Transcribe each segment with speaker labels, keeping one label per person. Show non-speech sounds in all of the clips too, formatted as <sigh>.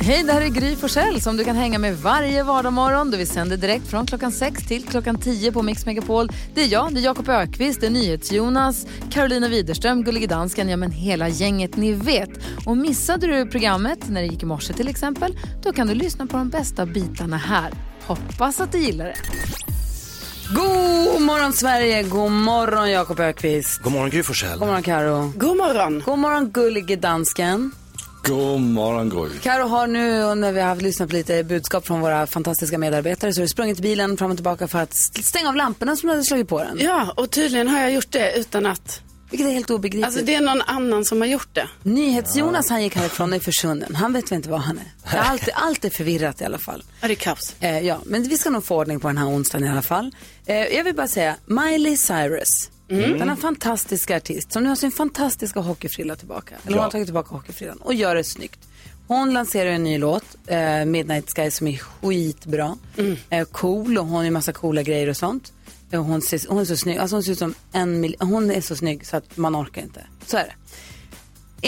Speaker 1: Hej, det här är Gry Forssell som du kan hänga med varje vardagsmorgon. Vi sänder direkt från klockan 6 till klockan 10 på Mix Megapol. Det är jag, det är Jakob Ökvist, det är NyhetsJonas, Carolina Widerström, Gullige Dansken, ja men hela gänget ni vet. Och missade du programmet när det gick i morse till exempel, då kan du lyssna på de bästa bitarna här. Hoppas att du gillar det. God morgon Sverige, god morgon Jakob Ökvist.
Speaker 2: God morgon Gry Forssell.
Speaker 1: God morgon Karo.
Speaker 3: God morgon.
Speaker 1: God morgon Gullige Dansken.
Speaker 2: God morgon Gry.
Speaker 1: Karo har nu, när vi har lyssnat på lite budskap från våra fantastiska medarbetare, så har du sprungit bilen fram och tillbaka för att st- stänga av lamporna som du hade slagit på den.
Speaker 3: Ja, och tydligen har jag gjort det utan att...
Speaker 1: Vilket är helt obegripligt.
Speaker 3: Alltså det är någon annan som har gjort det.
Speaker 1: NyhetsJonas han gick härifrån och är försvunnen. Han vet väl inte var han är.
Speaker 2: <laughs>
Speaker 1: Allt, allt är förvirrat i alla fall.
Speaker 3: Ja, det är kaos.
Speaker 1: Eh, ja, men vi ska nog få ordning på den här onsdagen i alla fall. Eh, jag vill bara säga, Miley Cyrus. Denna fantastiska artist som nu har sin fantastiska hockeyfrilla tillbaka. Eller hon har tagit tillbaka hockeyfrillan och gör det snyggt. Hon lanserar en ny låt, eh, Midnight Sky, som är skitbra. Eh, cool och hon har ju massa coola grejer och sånt. Eh, hon, ser, hon är så snygg, alltså hon ser ut som en mil- Hon är så snygg så att man orkar inte. Så är det.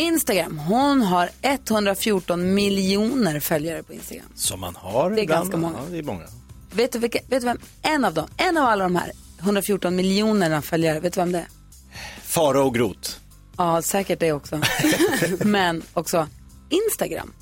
Speaker 1: Instagram, hon har 114 miljoner följare på Instagram.
Speaker 2: Som man har
Speaker 1: är
Speaker 2: ibland.
Speaker 1: ganska många.
Speaker 2: Ja, det är många.
Speaker 1: Vet du, vilka, vet du vem? En av dem, en av alla de här 114 miljonerna följare, vet du vem det är?
Speaker 2: Fara och grot.
Speaker 1: Ja, säkert det också. Men också Instagram.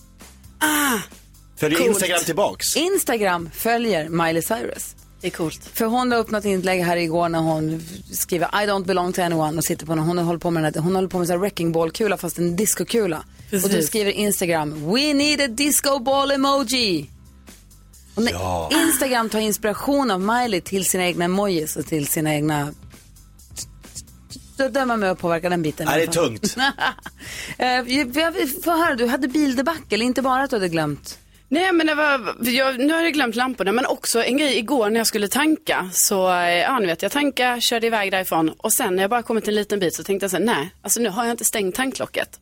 Speaker 2: Följer Instagram tillbaks.
Speaker 1: Instagram följer Miley Cyrus.
Speaker 3: Det är coolt.
Speaker 1: För hon la upp något inlägg här igår när hon skriver I don't belong to anyone och sitter på någon, hon håller på med den här, hon håller på med en wrecking ball kula fast en discokula. Och då
Speaker 3: Precis.
Speaker 1: skriver Instagram We need a disco ball emoji. Och när
Speaker 2: Ja.
Speaker 1: Instagram tar inspiration av Miley till sina egna emojis och till sina egna då dömer man mig att påverka den biten. i
Speaker 2: Är det
Speaker 1: alla
Speaker 2: är
Speaker 1: fall.
Speaker 2: tungt?
Speaker 1: Eh, vi- jag vill få höra, du hade bildebackel, inte bara att du hade glömt.
Speaker 3: Nej, men det var... Jag, nu har jag glömt lamporna, men också en grej igår när jag skulle tanka. Så, eh, ja, ni vet, jag tankade, körde iväg därifrån och sen när jag bara kommit en liten bit så tänkte jag så här, nej, alltså nu har jag inte stängt tanklocket.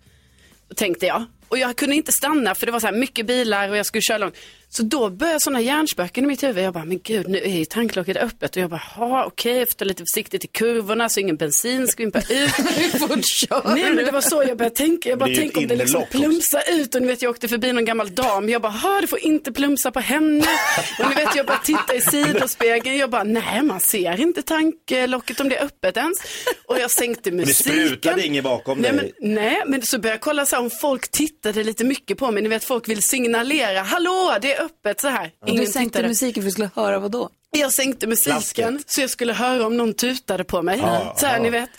Speaker 3: Tänkte jag. Och jag kunde inte stanna för det var så här mycket bilar och jag skulle köra långt. Så då började sådana hjärnspöken i mitt huvud. Jag bara, men gud, nu är ju tanklocket öppet. Och jag bara, ha okej, jag får ta lite försiktigt i kurvorna så ingen bensin skvimpar ut. Nej men det var så jag började tänka. Jag bara
Speaker 2: Det är ju ett
Speaker 3: tänk om det liksom
Speaker 2: innerlock också.
Speaker 3: plumsar ut och ni vet jag åkte förbi någon gammal dam. Jag bara, hör du får inte plumsa på henne. Och ni vet jag bara tittar i sidospegeln. Jag bara, nej man ser inte tanklocket om det är öppet ens. Och jag sänkte
Speaker 2: det
Speaker 3: musiken.
Speaker 2: sprutade ingen bakom
Speaker 3: nej,
Speaker 2: dig.
Speaker 3: Men, nej men så började jag kolla så här om folk tittade lite mycket på mig. Ni vet folk vill signalera, hallå det är öppet så här.
Speaker 1: Du
Speaker 3: Ingen
Speaker 1: sänkte
Speaker 3: tittade.
Speaker 1: musiken för att du skulle höra vad då?
Speaker 3: Jag sänkte musiken
Speaker 2: Flasket.
Speaker 3: så jag skulle höra om någon tutade på mig.
Speaker 2: Ja,
Speaker 3: så här,
Speaker 2: ja.
Speaker 3: ni vet.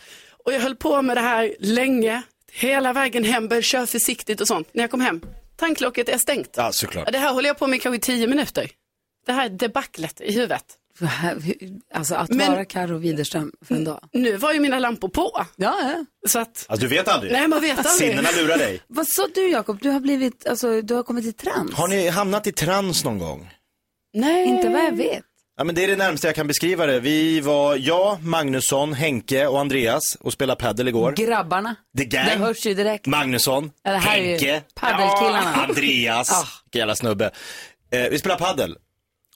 Speaker 3: Och jag höll på med det här länge, hela vägen hem, började köra försiktigt och sånt. När jag kom hem, tanklocket är stängt.
Speaker 2: Ja, såklart.
Speaker 3: Ja, Det här håller jag på med kanske i tio minuter. Det här debaclet i huvudet.
Speaker 1: För här- hur- Alltså att
Speaker 3: Men-
Speaker 1: vara Karo Widerström för en dag.
Speaker 3: Nu var ju mina lampor på,
Speaker 1: Mm. Ja, ja.
Speaker 3: så att,
Speaker 2: Alltså, du vet aldrig.
Speaker 3: nej man vet aldrig.
Speaker 2: <laughs> Sinnena lurar dig.
Speaker 1: Vad sa du Jakob? Du har blivit, alltså du har kommit i trans.
Speaker 2: Har ni hamnat i trans någon gång?
Speaker 3: Nej.
Speaker 1: Inte vad jag vet.
Speaker 2: Ja, men det är det närmaste jag kan beskriva det. Vi var jag, Magnusson, Henke och Andreas och spelade padel igår.
Speaker 1: Grabbarna.
Speaker 2: The Gang.
Speaker 1: Det hörs ju direkt.
Speaker 2: Magnusson,
Speaker 1: Ja, det här är ju
Speaker 2: Henke,
Speaker 1: paddelkillarna. Ah.
Speaker 2: ja, Andreas, vilken jävla snubbe. Eh, vi spelar paddel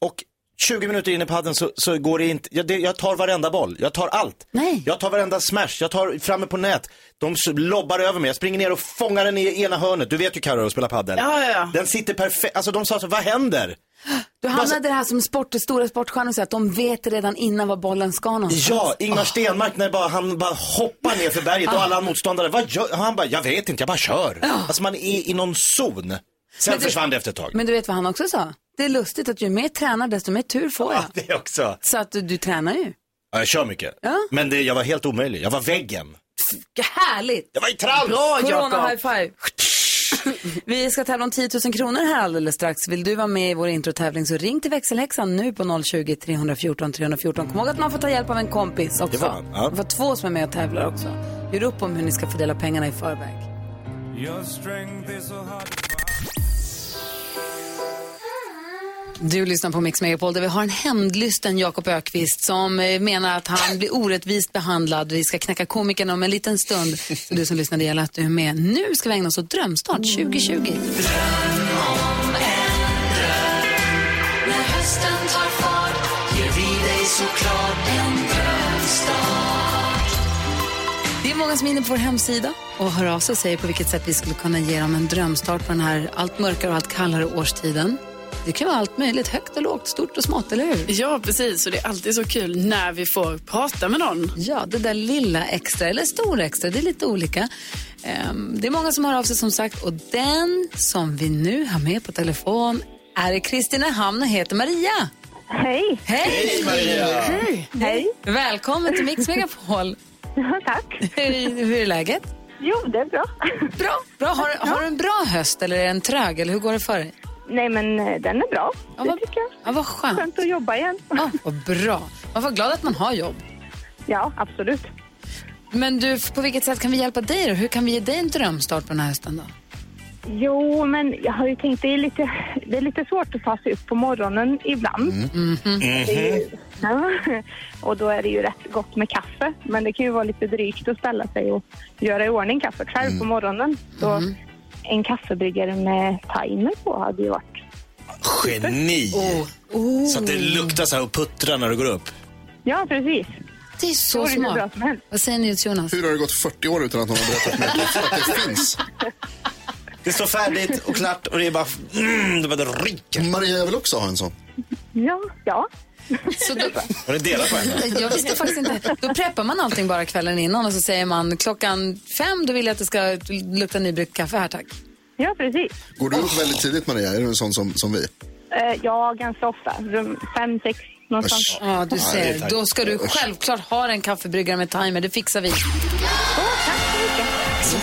Speaker 2: och 20 minuter in i paddeln så, så går det inte, jag, det, jag tar varenda boll, jag tar allt.
Speaker 1: Nej.
Speaker 2: Jag tar varenda smash, jag tar framme på nät, de s- lobbar över mig, jag springer ner och fångar den i ena hörnet. Du vet ju Carro att spela paddel.
Speaker 3: Ja, ja, ja.
Speaker 2: Den sitter perfekt, alltså de sa så, vad händer?
Speaker 1: Du
Speaker 2: Alltså-
Speaker 1: hamnade det här som sport, stora sportstjärnor så att de vet redan innan var bollen ska någonstans.
Speaker 2: Ja, Ingmar Stenmark när bara, han bara hoppar ner för berget
Speaker 1: Ah.
Speaker 2: och alla motståndare, vad gör, han bara, jag vet inte, jag bara kör. Alltså man är i någon zon. Sen
Speaker 1: Men du-
Speaker 2: försvann det efter ett tag.
Speaker 1: Men du vet vad han också sa? Det är lustigt att ju mer jag tränar desto mer tur får <laughs> jag.
Speaker 2: Ja, det också.
Speaker 1: Så att du, du tränar ju.
Speaker 2: Ja, jag kör mycket. Men det, jag var helt omöjlig. Jag var väggen.
Speaker 1: Härligt!
Speaker 2: Jag var i trans!
Speaker 1: Corona high five. Vi ska tävla om 10 000 kronor här alldeles strax. Vill du vara med i vår introtävling så ring till växelhäxan nu på 020-314 314. Kom ihåg att man får ta hjälp av en kompis också.
Speaker 2: Det får man, ja.
Speaker 1: Det var två som är med och tävlar också. Gör upp om hur ni ska fördela pengarna i förväg. Du lyssnar på Mix Megapol där vi har en hämndlysten Jakob Ökvist som eh, menar att han blir orättvist behandlad. Vi ska knäcka komikern om en liten stund. Så du som lyssnar, det gäller att du är med. Nu ska vi ägna oss åt Drömstart 2020. Det är många som är inne på vår hemsida och hör av sig och säger på vilket sätt vi skulle kunna ge dem en drömstart på den här allt mörkare och allt kallare årstiden. Det kan vara allt möjligt, högt och lågt, stort och smått, eller hur?
Speaker 3: Ja, precis. Och det är alltid så kul när vi får prata med någon.
Speaker 1: Ja, det där lilla extra eller stora extra, det är lite olika. Ehm, det är många som hör av sig som sagt och den som vi nu har med på telefon är i Kristinehamn och heter Maria.
Speaker 4: Hej! <laughs>
Speaker 1: Hej!
Speaker 2: Maria!
Speaker 4: Hej!
Speaker 1: Välkommen till Mix Megapol.
Speaker 4: Tack!
Speaker 1: hur, hur är läget?
Speaker 4: Jo, det är bra. <laughs>
Speaker 1: Bra. bra. Har, har du en bra höst eller är det en trög? Eller hur går det för dig?
Speaker 4: Nej, men eh, den är bra.
Speaker 1: Ja,
Speaker 4: det
Speaker 1: vad-
Speaker 4: tycker jag.
Speaker 1: Ja, vad skönt.
Speaker 4: Skönt att jobba igen.
Speaker 1: Ja, vad bra. Man får vara glad att man har jobb.
Speaker 4: <laughs> Ja, absolut.
Speaker 1: Men du, på vilket sätt kan vi hjälpa dig då? Hur kan vi ge dig en drömstart på den här hösten då?
Speaker 4: Jo, men jag har ju tänkt det är lite, det är lite svårt att ta sig upp på morgonen ibland. Mm-hmm. Det är ju- <laughs> Ja, och då är det ju rätt gott med kaffe. Men det kan ju vara lite drygt att ställa sig och göra i ordning kaffet själv på morgonen. Så
Speaker 1: Mm-hmm.
Speaker 4: en kaffebryggare med timer på hade ju varit...
Speaker 2: Geni! Så att det luktar så här och puttrar när du går upp.
Speaker 4: Ja, precis.
Speaker 1: Det är
Speaker 4: Det
Speaker 1: så
Speaker 4: vore hur bra
Speaker 1: smart.
Speaker 4: som helst.
Speaker 1: Vad säger ni Jonas?
Speaker 5: Hur har det gått 40 år utan att någon har berättat mer om att det finns?
Speaker 2: Det står färdigt och klart och det är bara... Mm, det bara det ryker.
Speaker 5: Maria, jag vill också ha en sån.
Speaker 4: Ja, ja.
Speaker 1: Så då, eh,
Speaker 2: Har ni delat på henne?
Speaker 1: jag visste faktiskt inte. Då preppar man allting bara kvällen innan och så säger man klockan fem då vill jag att det ska lukta nybryggt kaffe här tack.
Speaker 4: Ja, precis.
Speaker 5: Går du upp väldigt tidigt Maria? Är du en sån som, som vi?
Speaker 4: Eh, ja, ganska ofta. Rum fem, sex någonstans.
Speaker 5: Usch.
Speaker 1: Ja, du
Speaker 2: det är
Speaker 1: ser.
Speaker 2: tajt.
Speaker 1: Då ska du självklart ha en kaffebryggare med timer. Det fixar vi.
Speaker 4: Tack så mycket.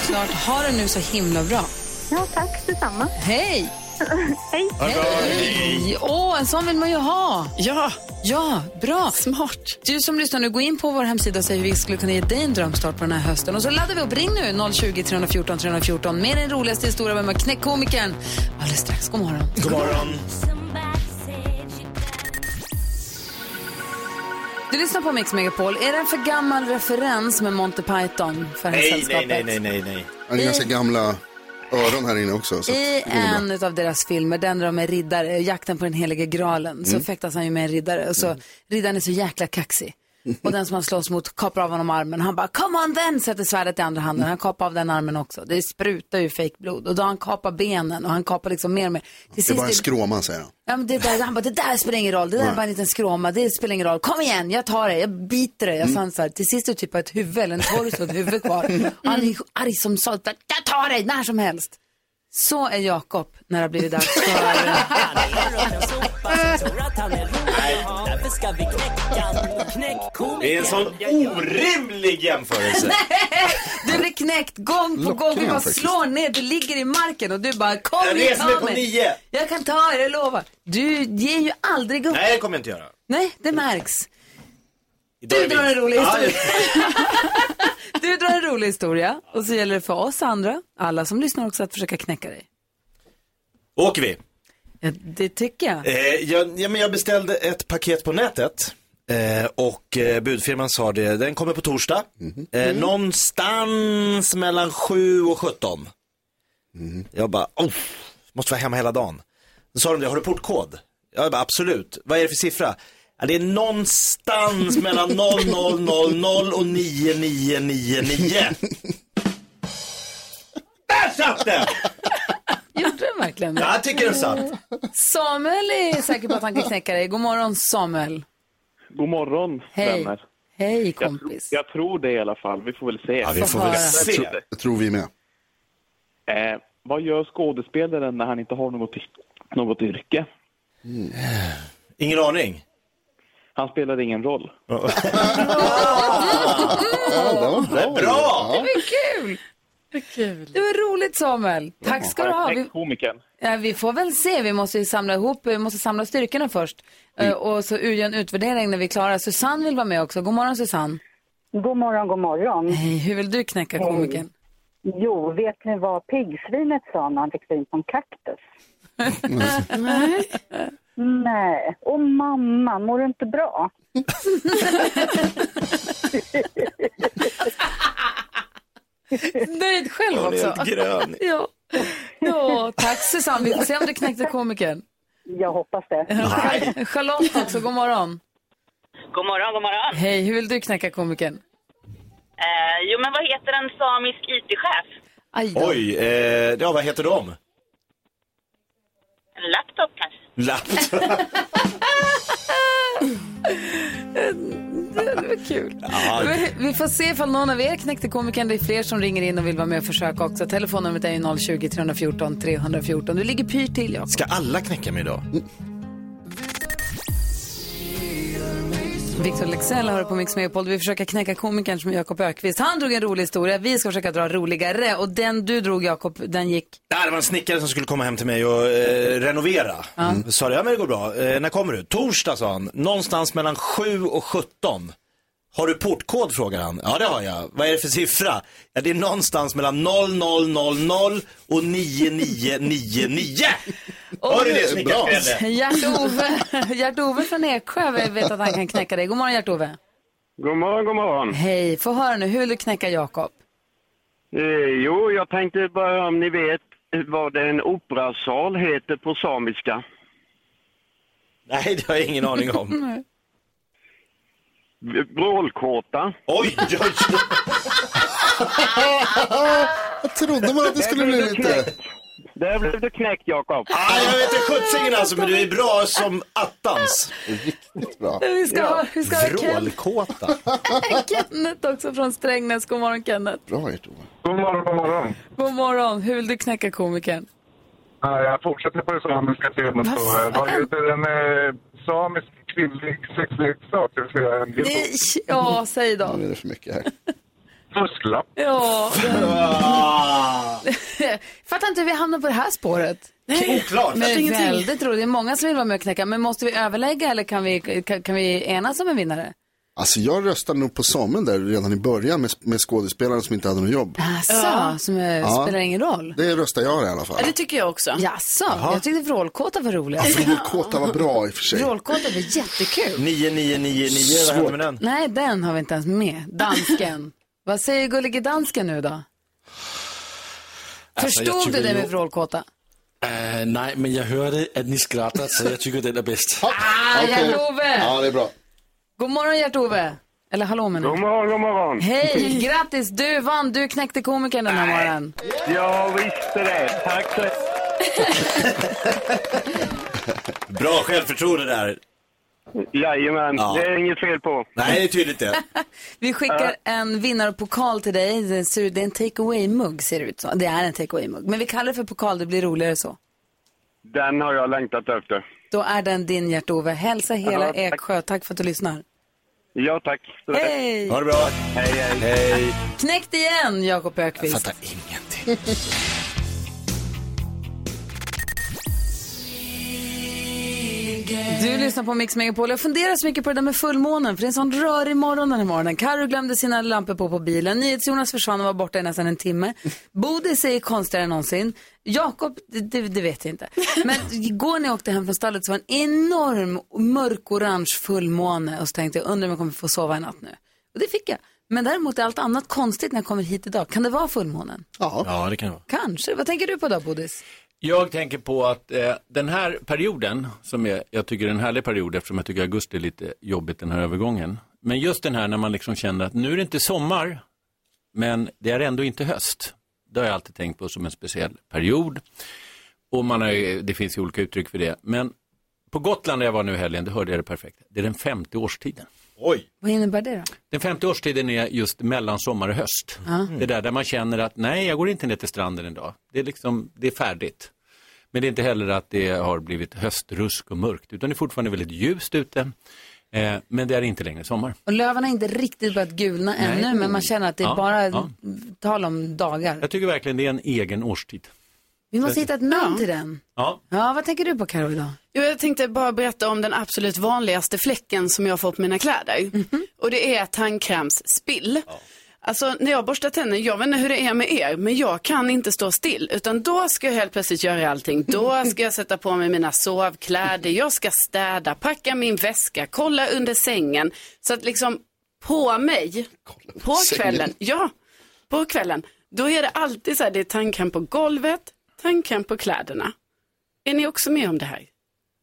Speaker 1: Såklart. Ha det nu så himla bra.
Speaker 4: Ja, tack detsamma.
Speaker 1: Hej!
Speaker 4: Hej.
Speaker 1: Hej! Åh, en sån vill man ju ha.
Speaker 3: Ja,
Speaker 1: Ja, bra.
Speaker 3: smart.
Speaker 1: Du som lyssnar nu, gå in på vår hemsida och säg hur vi skulle kunna ge dig en drömstart på den här hösten. Och så laddar vi upp. Ring nu 020 314 314 med din roligaste historia med knäckkomikern. Alldeles strax, god morgon.
Speaker 2: God morgon.
Speaker 1: Du lyssnar på Mix Megapol. Är det en för gammal referens med Monty Python för det här
Speaker 2: Nej, nej,
Speaker 1: sällskapet?
Speaker 2: nej, nej, nej, nej.
Speaker 5: Jag har ganska gamla öron här inne också. Så att
Speaker 1: I
Speaker 5: det går bra.
Speaker 1: en av deras filmer, den där de är riddare, eh, Jakten på den helige graalen, så
Speaker 5: Mm.
Speaker 1: fäktas han ju med en riddare. Och så, Riddaren är så jäkla kaxig.
Speaker 5: Mm.
Speaker 1: Och den som han slåss mot kapar av honom armen. Han bara, come on then, sätter svärdet i andra
Speaker 5: Mm.
Speaker 1: handen. Han kapar av den armen också. Det sprutar ju fake blod. Och då han kapar benen och han kapar liksom mer och mer. Till
Speaker 5: Det är bara en
Speaker 1: sist-
Speaker 5: skråma säger han.
Speaker 1: Ja, men det där, han bara, det där spelar ingen roll, det där är bara en liten skråma, det spelar ingen roll, kom igen, jag tar det, jag biter det, jag
Speaker 5: Mm.
Speaker 1: sansar. Till sist är det typ bara ett huvud, eller en torso, ett huvud kvar. Och han är arg som satan, jag tar dig när som helst. Så är Jakob när det har blivit dags
Speaker 6: <laughs>
Speaker 1: för...
Speaker 2: Det är en sån orimlig jämförelse.
Speaker 1: Du blir knäckt gång på gång, du
Speaker 5: Lockning,
Speaker 1: bara
Speaker 5: faktiskt.
Speaker 1: slår ner, du ligger i marken och du bara, kom
Speaker 2: Jag
Speaker 1: nu,
Speaker 2: reser mig
Speaker 1: ta
Speaker 2: på nio.
Speaker 1: Jag kan ta er, jag lovar. Du ger ju aldrig upp.
Speaker 2: Nej, det kommer jag inte göra.
Speaker 1: Nej, det märks.
Speaker 2: Idag
Speaker 1: Du
Speaker 2: är vi-
Speaker 1: drar en rolig
Speaker 2: Ja,
Speaker 1: historia. Du drar en rolig historia och så gäller det för oss andra, alla som lyssnar också, att försöka knäcka dig.
Speaker 2: det- Åker vi.
Speaker 1: Ja, det tycker jag.
Speaker 2: Eh, jag, ja, men jag beställde ett paket på nätet. Eh, och eh, budfirman sa det, den kommer på torsdag. Eh, någonstans mellan 7 och 17. Jag bara, oh, måste vara hemma hela dagen. Då sa de det, har du portkod? Jag bara, absolut. Vad är det för siffra? Ja, det är någonstans mellan 0000 och 9999. Där satt den!
Speaker 1: Gjorde den verkligen det?
Speaker 2: Jag tycker den satt.
Speaker 1: Samuel är säker på att han kan knäcka dig. God morgon Samuel.
Speaker 7: God morgon,
Speaker 1: Hej.
Speaker 7: vänner.
Speaker 1: Hej
Speaker 7: Jag, tro,
Speaker 1: kompis.
Speaker 7: jag tror det i alla fall. Vi får väl se.
Speaker 2: vi får
Speaker 1: höra.
Speaker 2: väl se.
Speaker 5: Det tror vi med.
Speaker 7: eh, vad gör skådespelaren när han inte har något, något yrke?
Speaker 2: Ingen aning.
Speaker 7: Han spelar ingen roll.
Speaker 5: Ja, det var bra.
Speaker 2: Bra!
Speaker 1: Kul!
Speaker 3: Kul.
Speaker 1: Det var roligt Samuel. Tack ska du ha. Vi,
Speaker 7: Knäck komikern.
Speaker 1: ja, vi får väl se, vi måste ju samla ihop, vi måste samla styrkorna först. Eh, Och så göra en utvärdering när vi är klara. Susanne vill vara med också. God morgon Susanne.
Speaker 8: God morgon, god morgon.
Speaker 1: Hej, hur vill du knäcka komikern?
Speaker 8: Jo, vet ni vad piggsvinet sa när han fick syn på en kaktus? Nej. Och mamma, mår du inte bra?
Speaker 1: Nöjd själv också. <laughs>
Speaker 2: grön.
Speaker 1: Ja. ja, tack Susanne. Vi får se om du knäckte komikern.
Speaker 8: Jag hoppas det.
Speaker 1: Charlotte också, god morgon.
Speaker 9: God morgon, god morgon.
Speaker 1: Hej, hur vill du knäcka komikern?
Speaker 9: Eh, jo, men vad heter en samisk IT-chef?
Speaker 1: Aj då.
Speaker 2: Oj, eh, ja vad heter de?
Speaker 9: En laptop kanske?
Speaker 2: Laptop.
Speaker 1: <laughs> Det var kul.
Speaker 2: Ja.
Speaker 1: Vi får se ifall någon av er knäckte komikern. Det är fler som ringer in och vill vara med och försöka också. Telefonnumret är ju 020-314 314. Du ligger pyrt till, Jakob.
Speaker 2: Ska alla knäcka mig idag?
Speaker 1: Victor Lexell har på Mix Megapol. Vi försöker knäcka komikern som Jakob Ökvist. Han drog en rolig historia. Vi ska försöka dra roligare. Och den du drog, Jakob, den gick...
Speaker 2: Nej, det var en snickare som skulle komma hem till mig och eh, renovera. Mm. Sa det, ja men det går bra. Eh, när kommer du? Torsdag sa han. Någonstans mellan 7 och 17. Har du portkod frågar han. Ja det har jag. Vad är det för siffra? Ja, det är någonstans mellan 0000 och 9999. Hörde ni det
Speaker 5: bra.
Speaker 2: snickaren?
Speaker 1: <laughs> Gert-Ove Gert från Eksjö vi vet att han kan knäcka dig. God morgon, Gert-Ove.
Speaker 10: God morgon, god morgon.
Speaker 1: Hej. Få höra nu, hur vill du knäcka Jakob?
Speaker 10: Eh, jo, jag tänkte bara om ni vet vad en operasal heter på samiska.
Speaker 2: Nej, det har jag ingen aning om.
Speaker 10: V- Vrålkåta.
Speaker 2: Oj, oj, oj.
Speaker 5: Jag trodde man att det skulle bli lite...
Speaker 10: Där blev du knäckt, Jakob.
Speaker 2: Ah, jag vet inte sjuttsingen alltså, men du är bra som attans.
Speaker 5: Riktigt bra.
Speaker 1: Vi ska ha, vi ska ha Ken,
Speaker 2: Vrålkåta.
Speaker 1: Kenneth också från Strängnäs. God morgon, Kenneth.
Speaker 5: Bra gjort, Ove.
Speaker 10: God morgon, god morgon.
Speaker 1: God morgon. Hur vill du knäcka komikern?
Speaker 10: jag fortsätter på det samiska temat.
Speaker 1: Vad fan? Vad
Speaker 10: heter en samisk kvinnlig sexleksak?
Speaker 1: Nej, Ja, säg då.
Speaker 5: Nu är det för mycket här.
Speaker 10: Fusklapp.
Speaker 1: Ja.
Speaker 2: Ah,
Speaker 1: Fattar inte hur vi hamnar på det här spåret.
Speaker 2: Oklart.
Speaker 1: Men
Speaker 3: ingenting.
Speaker 1: väldigt roligt. Det är många som vill vara med och knäcka. Men måste vi överlägga eller kan vi, kan, kan vi enas om en vinnare?
Speaker 5: Alltså jag röstade nog på Samuel där redan i början med, med skådespelaren som inte hade något jobb.
Speaker 1: Jaså, som eh, spelar ingen roll.
Speaker 5: Det röstade jag i alla fall.
Speaker 3: Ja, det tycker jag också.
Speaker 1: Jaså, jag tyckte vrålkåta var roligast.
Speaker 5: <laughs> Vrålkåta var bra i och för sig.
Speaker 1: Vrålkåta var jättekul.
Speaker 2: 9999, vad hände med den?
Speaker 1: Nej, den har vi inte ens med. Dansken. Vad säger gullige dansken nu då?
Speaker 6: Alltså, jag
Speaker 1: Förstod
Speaker 6: tycker
Speaker 1: du det
Speaker 6: ju-
Speaker 1: med vrålkåta?
Speaker 6: Uh, nej, men jeg hører, at ni skratter, så jeg tycker den er bedst.
Speaker 1: Ah,
Speaker 5: Okej.
Speaker 1: Gert-Ove!
Speaker 5: Ja, det är bra.
Speaker 1: God morgon Gert-Ove! Eller hallå menar jag.
Speaker 10: God morgon, god morgon.
Speaker 1: Hej, grattis! Du vann, du knäckte komikern den här morgonen.
Speaker 10: Jag visste det. Tack så
Speaker 2: Bra självförtroende där.
Speaker 10: Jajamän,
Speaker 2: Ja.
Speaker 10: det är inget fel på.
Speaker 2: Nej, det är tydligt det.
Speaker 1: Vi skickar en vinnarpokal till dig. Det ser- det är en take away-mugg ser det ut som. Det är en take away-mugg. Men vi kallar det för pokal, det blir roligare så.
Speaker 10: Den har jag längtat efter.
Speaker 1: Då är den din Gert-Ove. Hälsa hela
Speaker 10: Ja, tack.
Speaker 1: Eksjö. Tack för att du lyssnar.
Speaker 10: Ja, tack.
Speaker 1: Hej!
Speaker 2: Ha det bra.
Speaker 10: Hej, hej.
Speaker 2: Hej.
Speaker 1: Knäckt igen, Jakob Ökvist.
Speaker 2: Fattar ingenting.
Speaker 1: Du lyssnar på Mix Megapol. Jag funderar så mycket på det där med fullmånen, för det är en sån rörig morgon den här morgonen. Karo glömde sina lampor på på bilen. NyhetsJonas försvann och var borta i nästan en timme. Bodis är konstigare än någonsin. Jakob, det, det, det vet jag inte. Men igår när jag åkte hem från stallet så var en enorm mörkorange fullmåne och så tänkte jag, undrar om jag kommer få sova en natt nu. Och det fick jag. Men däremot är allt annat konstigt när jag kommer hit idag. Kan det vara fullmånen?
Speaker 6: Ja, det kan det være.
Speaker 1: Kanske. Vad tänker du på då, Bodis?
Speaker 11: Jag tänker på att eh, den här perioden, som är, jag tycker är en härlig period eftersom jag tycker augusti är lite jobbigt den här övergången. Men just den här när man liksom känner att nu är det inte sommar, men det är ändå inte höst. Det har jag alltid tänkt på som en speciell period. Och man har ju, det finns ju olika uttryck för det. Men på Gotland där jag var nu i helgen, det hörde jag det perfekt. Det är den femte årstiden.
Speaker 2: Oj.
Speaker 1: Vad innebär det då?
Speaker 11: Den femte årstiden är just mellan sommar och höst. Det är där, där man känner att nej, jag går inte ner till stranden idag. Det är, liksom, det är färdigt. Men det är inte heller att det har blivit höstrusk och mörkt, utan det är fortfarande väldigt ljust ute. Eh, men det är inte längre sommar.
Speaker 1: Och löven har inte riktigt börjat gulna ännu, men man känner att det är
Speaker 11: Ja,
Speaker 1: bara
Speaker 11: ja.
Speaker 1: tal om dagar.
Speaker 11: Jag tycker verkligen det är en egen årstid.
Speaker 1: Vi måste hitta ett namn till den.
Speaker 11: Ja,
Speaker 1: Ja, vad tänker du på Karo idag?
Speaker 3: Jo, jag tänkte bara berätta om den absolut vanligaste fläcken som jag får på mina kläder. Och det är tandkrämsspill. Alltså när jag borstar tänderna, jag vet inte hur det är med er, men jag kan inte stå still. Utan då ska jag helt plötsligt göra allting. Då ska jag sätta på mig mina sovkläder, jag ska städa, packa min väska, kolla under sängen. Så att liksom på mig, på kvällen, ja, på kvällen, då är det alltid så här, det är tandkräm på golvet, tandkräm på kläderna. Är ni också med om det här?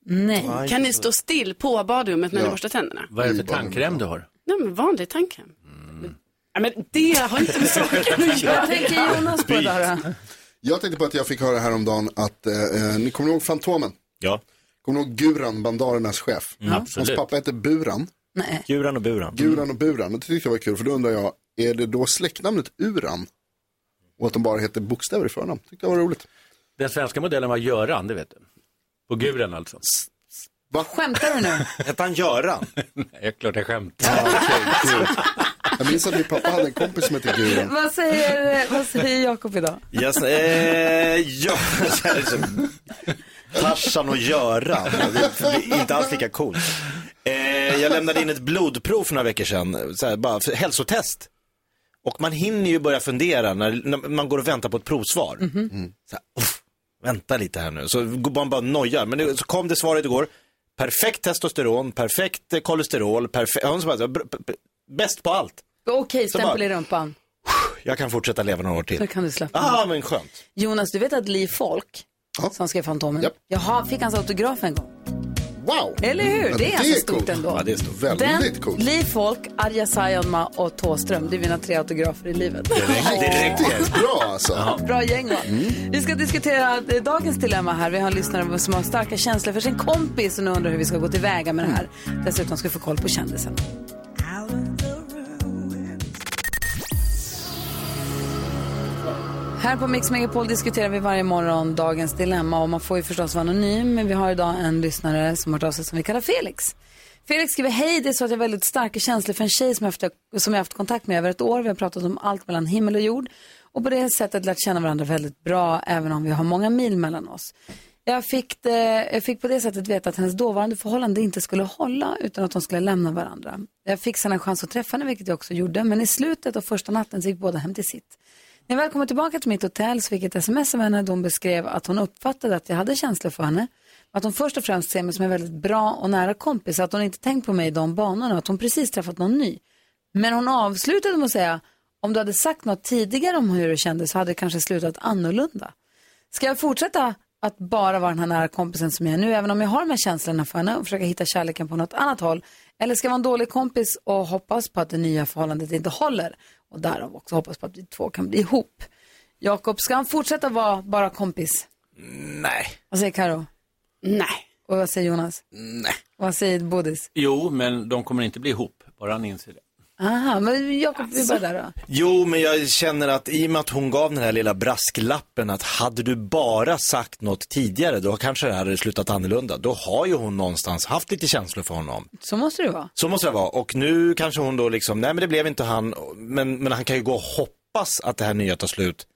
Speaker 1: Nej.
Speaker 3: Kan ni stå still på badrummet när ni borstar tänderna?
Speaker 11: vad är det för tandkräm du har?
Speaker 3: Nej, men vanlig tandkräm. Ja, men det har inte med saken att göra.
Speaker 1: Vad tänker Jonas på idag då?
Speaker 5: Jag tänkte på att jag fick höra häromdagen att, eh, eh, ni kommer ihåg Fantomen?
Speaker 2: Ja.
Speaker 5: Kommer ni ihåg Guran, Bandarernas chef?
Speaker 2: Mm, absolut.
Speaker 5: Hans pappa hette Buran.
Speaker 1: Nej.
Speaker 2: Guran och Buran.
Speaker 5: Guran och Buran, och det tyckte jag var kul för då undrar jag, är det då släktnamnet Uran? Och att de bara heter bokstäver i förnamn, tyckte jag var roligt.
Speaker 11: Den svenska modellen var Göran, det vet du. På guren alltså.
Speaker 5: Va?
Speaker 1: Skämtar du nu?
Speaker 2: Hette han Göran?
Speaker 11: Nej, klart jag skämtar.
Speaker 5: Jag minns att min pappa hade en kompis som hette Guran.
Speaker 1: Vad säger, eh, vad säger Jakob idag?
Speaker 2: Yes, eh, ja, Tarzan och Göran, det är inte alls lika coolt. Eh, jag lämnade in ett blodprov för några veckor sedan, så här, bara för hälsotest. Och man hinner ju börja fundera när, när man går och väntar på ett provsvar. Så här, uff, vänta lite här nu, så går man bara nojar. Men det, så kom det svaret igår, perfekt testosteron, perfekt eh, kolesterol, perfekt, hon sa bara, b- b- bäst på allt.
Speaker 1: Okej,
Speaker 2: Så
Speaker 1: stämpel
Speaker 2: bara-
Speaker 1: i rumpan.
Speaker 2: Jag kan fortsätta leva några år till.
Speaker 1: Nu kan du slappna
Speaker 2: Ah, men skönt.
Speaker 1: Jonas, du vet att Li Folk, som skrev Fantomen, jag har- fick hans autograf en gång.
Speaker 5: Wow!
Speaker 1: Eller hur? Det är ganska stort ändå.
Speaker 5: Ja, det är stort. Väldigt
Speaker 1: Den,
Speaker 5: coolt.
Speaker 1: Li Folk, Arja Saijonmaa och Thåström, det är mina tre autografer i livet.
Speaker 5: Riktigt bra alltså.
Speaker 1: Bra gäng va? Vi ska diskutera eh, dagens dilemma här. Vi har en lyssnare som har starka känslor för sin kompis och nu undrar hur vi ska gå tillväga med det här. Dessutom ska vi få koll på kändisen. Här på Mix Megapol diskuterar vi varje morgon dagens dilemma och man får ju förstås vara anonym men vi har idag en lyssnare som har hört av sig som vi kallar Felix. Felix skriver, hej det är så att jag har väldigt starka känslor för en tjej som jag, haft, som jag haft kontakt med över ett år. Vi har pratat om allt mellan himmel och jord och på det sättet lärt känna varandra väldigt bra även om vi har många mil mellan oss. Jag fick, det, jag fick på det sättet veta att hennes dåvarande förhållande inte skulle hålla utan att de skulle lämna varandra. Jag fick sen en chans att träffa henne, vilket jag också gjorde, men i slutet av första natten så gick båda hem till sitt. När jag väl kom tillbaka till mitt hotell så fick jag ett sms av henne där hon beskrev att hon uppfattade att jag hade känslor för henne. Att hon först och främst ser mig som en väldigt bra och nära kompis, att hon inte tänkt på mig i de banorna, att hon precis träffat någon ny. Men hon avslutade med att säga, om du hade sagt något tidigare om hur det kändes så hade det kanske slutat annorlunda. Ska jag fortsätta att bara vara den här nära kompisen som jag är nu, även om jag har de här känslorna för henne och försöka hitta kärleken på något annat håll? Eller ska jag vara en dålig kompis och hoppas på att det nya förhållandet inte håller? Och därav också hoppas på att vi två kan bli ihop. Jakob, ska han fortsätta vara bara kompis?
Speaker 2: Nej.
Speaker 1: Vad säger Karo?
Speaker 3: Nej.
Speaker 1: Och vad säger Jonas? Nej. Och vad säger Bodis?
Speaker 11: Jo, men de kommer inte bli ihop, bara han inser det.
Speaker 1: Aha, men Jakob, vi börjar där då.
Speaker 2: Jo, men jag känner att i och med att hon gav den här lilla brasklappen att hade du bara sagt något tidigare, då kanske det här hade slutat annorlunda. Då har ju hon någonstans haft lite känslor för honom.
Speaker 1: Så måste det vara.
Speaker 2: Så måste det vara. Och nu kanske hon då liksom, nej men det blev inte han, men, men han kan ju gå och hoppas att det här nya tar slut,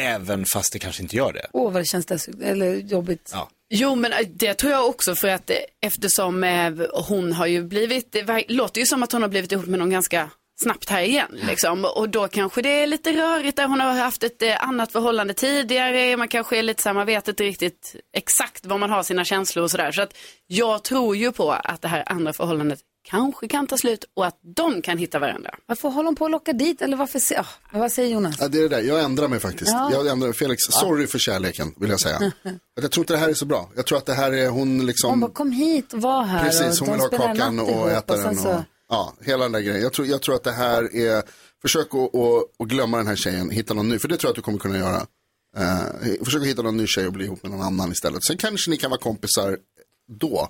Speaker 2: även fast det kanske inte gör det.
Speaker 1: Åh, vad det känns dessut- eller jobbigt.
Speaker 2: Ja.
Speaker 3: Jo, men eh, det tror jag också för att eh, eftersom eh, hon har ju blivit, det ver- låter ju som att hon har blivit ihop med någon ganska snabbt här igen. Liksom. Och då kanske det är lite rörigt där hon har haft ett eh, annat förhållande tidigare. Man kanske är lite så här, man vet inte riktigt exakt var man har sina känslor och sådär. Så att jag tror ju på att det här andra förhållandet kanske kan ta slut och att de kan hitta varandra.
Speaker 1: Varför håller hon på att locka dit? Eller varför? Se- ah, men vad säger Jonas?
Speaker 5: Ja, det är det där. Jag ändrar mig faktiskt.
Speaker 1: Ja.
Speaker 5: Jag ändrar, Felix, sorry för kärleken vill
Speaker 1: <laughs>
Speaker 5: jag säga. Att jag tror inte det här är så bra. Jag tror att det här är hon liksom...
Speaker 1: Hon bara, kom hit och var här.
Speaker 5: Precis,
Speaker 1: och
Speaker 5: hon vill
Speaker 1: de
Speaker 5: ha
Speaker 1: spelar
Speaker 5: kakan
Speaker 1: natt
Speaker 5: och
Speaker 1: ihop
Speaker 5: äta
Speaker 1: sen
Speaker 5: den.
Speaker 1: så-
Speaker 5: Och, ja, hela den där grejen. Jag tror, jag tror att det här är, försök att, att, att glömma den här tjejen, hitta någon ny, för det tror jag att du kommer kunna göra. Eh, försök att hitta någon ny tjej och bli ihop med någon annan istället. Sen kanske ni kan vara kompisar då.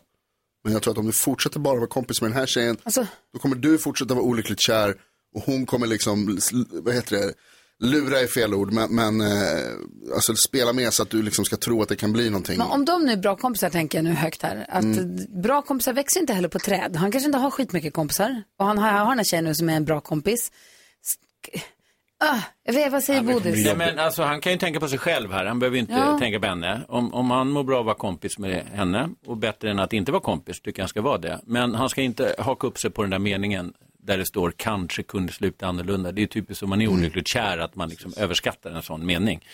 Speaker 5: Men jag tror att om du fortsätter bara vara kompis med den här tjejen,
Speaker 1: Alltså-
Speaker 5: då kommer du fortsätta vara olyckligt kär och hon kommer liksom, vad heter det, lura är fel ord, men, men eh, alltså spela med så att du liksom ska tro att det kan bli någonting.
Speaker 1: Men om de nu är bra kompisar, tänker jag nu högt här, att
Speaker 5: Mm.
Speaker 1: bra kompisar växer inte heller på träd. Han kanske inte har skitmycket kompisar. Och han har, har den här tjejen nu som är en bra kompis. Sk- Ah, jag vet, vad säger Bodis?
Speaker 11: Nej, men alltså, han kan ju tänka på sig själv här, han behöver inte
Speaker 1: Ja.
Speaker 11: tänka på henne. Om, om han mår bra att vara kompis med henne och bättre än att inte vara kompis tycker jag han ska vara det. Men han ska inte haka upp sig på den där meningen där det står kanske kunde sluta annorlunda. Det är typiskt som man är olyckligt kär att man liksom överskattar en sån mening.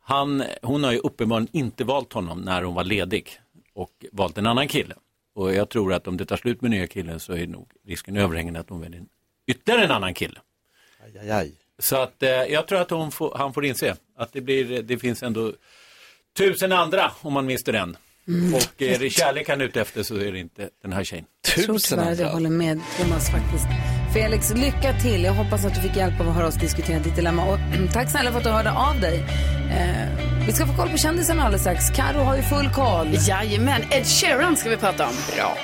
Speaker 11: Han, hon har ju uppenbarligen inte valt honom när hon var ledig och valt en annan kille. Och jag tror att om det tar slut med nya killen så är nog risken överhängande att hon väljer en- ytterligare en annan kille. Så att eh, jag tror att hon får, han får inse att det, blir, det finns ändå tusen andra om man mister en. Och eh, är det kärlek han är ute efter så är det inte den här tjejen.
Speaker 1: Jag tror tyvärr att jag håller med Thomas faktiskt. Felix, lycka till. Jag hoppas att du fick hjälp av att höra oss diskutera ditt dilemma. Och <clears throat> tack snälla för att du hörde av dig. Eh, vi ska få koll på kändisarna alldeles strax. Karo har ju full koll.
Speaker 3: Jajamän, Ed Sheeran ska vi prata om.
Speaker 1: Bra.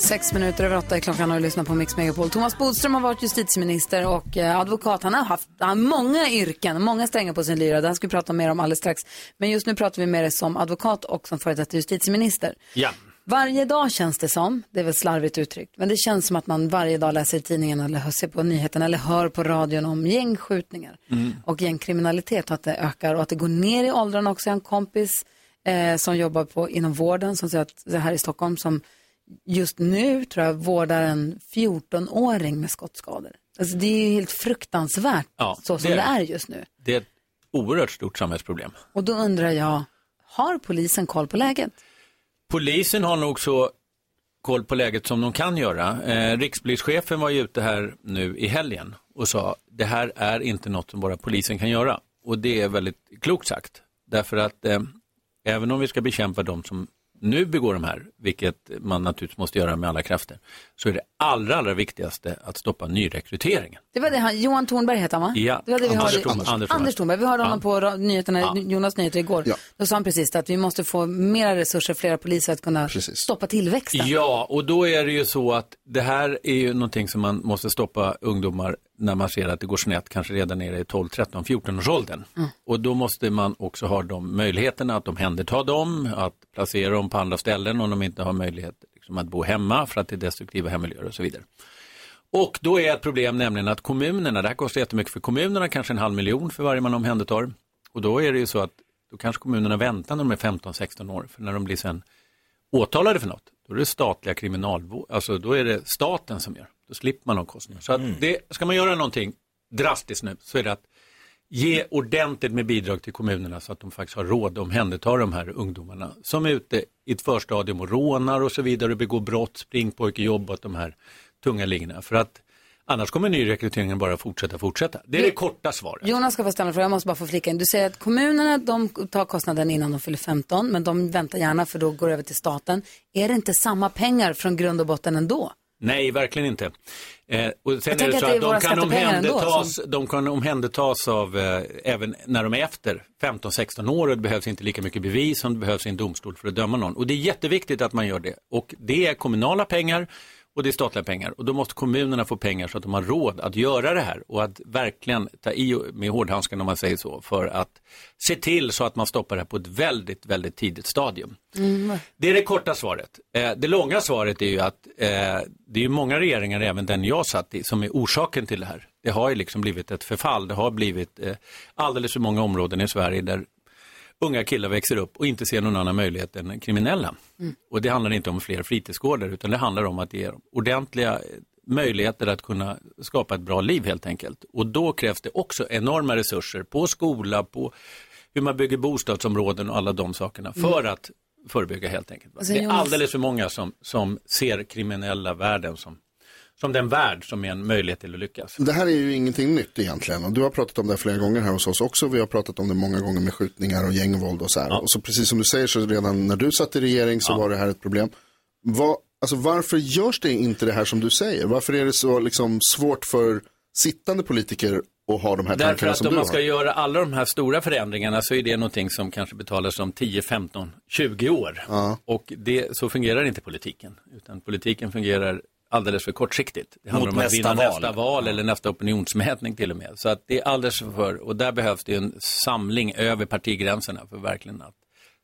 Speaker 1: 6 minuter över åtta är klockan och du lyssnar på Mix Megapol. Thomas Bodström har varit justitieminister och eh, advokat. Han har haft han har många yrken, många strängar på sin lyra. Det här ska vi prata mer om alldeles strax. Men just nu pratar vi med dig som advokat och som före detta justitieminister.
Speaker 11: Ja.
Speaker 1: Varje dag känns det som, det är väl slarvigt uttryckt, men det känns som att man varje dag läser i tidningen eller hör- ser på nyheterna eller hör på radion om gängskjutningar
Speaker 11: Mm.
Speaker 1: och gängkriminalitet och att det ökar och att det går ner i åldrarna också. Jag har en kompis eh, som jobbar på, inom vården som säger att det här i Stockholm som just nu tror jag vårdar en 14-åring med skottskador. Alltså det är ju helt fruktansvärt
Speaker 11: Ja,
Speaker 1: så som
Speaker 11: det
Speaker 1: det
Speaker 11: är
Speaker 1: är.
Speaker 11: det.
Speaker 1: just nu.
Speaker 11: Det är ett oerhört stort samhällsproblem.
Speaker 1: Och då undrar jag, har polisen koll på läget?
Speaker 11: Polisen har nog så koll på läget som de kan göra. Eh, rikspolischefen var ju ute här nu i helgen och sa det här är inte något som bara polisen kan göra. Och det är väldigt klokt sagt. Därför att eh, även om vi ska bekämpa de som nu begår de här, vilket man naturligtvis måste göra med alla krafter, så är det allra, allra viktigaste att stoppa nyrekryteringen.
Speaker 1: Det var det han, Johan Thornberg heter han va?
Speaker 11: Ja,
Speaker 1: Det var det vi
Speaker 11: Anders
Speaker 1: hörde.
Speaker 11: Thornberg. Anders Thornberg.
Speaker 1: Anders Thornberg. Vi hörde honom
Speaker 11: Ja.
Speaker 1: på ra- nyheterna,
Speaker 11: Ja.
Speaker 1: Jonas nyheter igår. Då sa han precis att vi måste få mera resurser, flera poliser att kunna stoppa tillväxten.
Speaker 11: Ja, och då är det ju så att det här är ju någonting som man måste stoppa ungdomar när man ser att det går snett, kanske redan nere i 12, 13, 14 års åldern. Och då måste man också ha de möjligheterna att omhänderta dem, att placera dem på andra ställen om de inte har möjlighet liksom, att bo hemma för att det är destruktiva hemmiljöer och så vidare. Och då är ett problem nämligen att kommunerna, det här kostar jättemycket för kommunerna, kanske en halv miljon för varje man omhändertar. Och då är det ju så att då kanske kommunerna väntar när de är 15-16 år, för när de blir sen åtalade för något, då är det statliga kriminalvård, alltså då är det staten som gör. Då slipper man de kostnaderna. Så att det, ska man göra någonting drastiskt nu så är det att ge ordentligt med bidrag till kommunerna så att de faktiskt har råd att omhänderta de här ungdomarna som är ute i ett förstadium och rånar och så vidare och begår brott, springpojkejobb åt de här tunga ligorna. För att annars kommer nyrekryteringen bara fortsätta, fortsätta. Det är det korta svaret.
Speaker 1: Jonas ska få ställa en fråga, jag måste bara få flika in. Du säger att kommunerna de tar kostnaden innan de fyller 15, men de väntar gärna för då går det över till staten. Är det inte samma pengar från grund och botten ändå? <laughs>
Speaker 11: Nej, verkligen inte. Eh, och sen
Speaker 1: Jag
Speaker 11: är
Speaker 1: tänker
Speaker 11: det
Speaker 1: att
Speaker 11: så
Speaker 1: det är
Speaker 11: att
Speaker 1: våra
Speaker 11: de kan,
Speaker 1: skattepengar ändå,
Speaker 11: omhändertas,
Speaker 1: så-
Speaker 11: de kan omhändertas av, eh, även när de är efter 15-16 år och det behövs inte lika mycket bevis som det behövs i en domstol för att döma någon. Och det är jätteviktigt att man gör det. Och det är kommunala pengar och det är statliga pengar. Och då måste kommunerna få pengar så att de har råd att göra det här och att verkligen ta i med hårdhandsken om man säger så, för att se till så att man stoppar det här på ett väldigt, väldigt tidigt stadium. Det är det korta svaret. Eh, det långa svaret är ju att eh, det är ju många regeringar, även den jag satt i, som är orsaken till det här. Det har ju liksom blivit ett förfall. Det har blivit eh, alldeles för många områden i Sverige där unga killar växer upp och inte ser någon annan möjlighet än kriminella. Och det handlar inte om fler fritidsgårdar utan det handlar om att ge dem ordentliga eh, möjligheter att kunna skapa ett bra liv helt enkelt. Och då krävs det också enorma resurser på skola, på hur man bygger bostadsområden och alla de sakerna för att förebygga helt enkelt.
Speaker 1: Alltså,
Speaker 11: det är
Speaker 1: Jonas-
Speaker 11: alldeles för många som, som ser kriminella världen som, som den värld som är en möjlighet till att lyckas.
Speaker 5: Det här är ju ingenting nytt egentligen. Och du har pratat om det här flera gånger här hos oss också. Vi har pratat om det många gånger med skjutningar och gängvåld och så här. Och så precis som du säger så redan när du satt i regering så var det här ett problem. Vad, alltså varför görs det inte det här som du säger? Varför är det så liksom svårt för sittande politiker att ha de här
Speaker 11: Därför
Speaker 5: tankarna
Speaker 11: att
Speaker 5: som
Speaker 11: om
Speaker 5: du
Speaker 11: man
Speaker 5: har?
Speaker 11: ska göra alla de här stora förändringarna så är det någonting som kanske betalas om 10, 15, 20 år. Och det, så fungerar inte politiken. Utan politiken fungerar alldeles för kortsiktigt. Det handlar
Speaker 2: Mot
Speaker 11: om att
Speaker 2: nästa
Speaker 11: vinna
Speaker 2: val.
Speaker 11: nästa val eller nästa opinionsmätning till och med. Så att det är alldeles för, och där behövs det ju en samling över partigränserna för verkligen att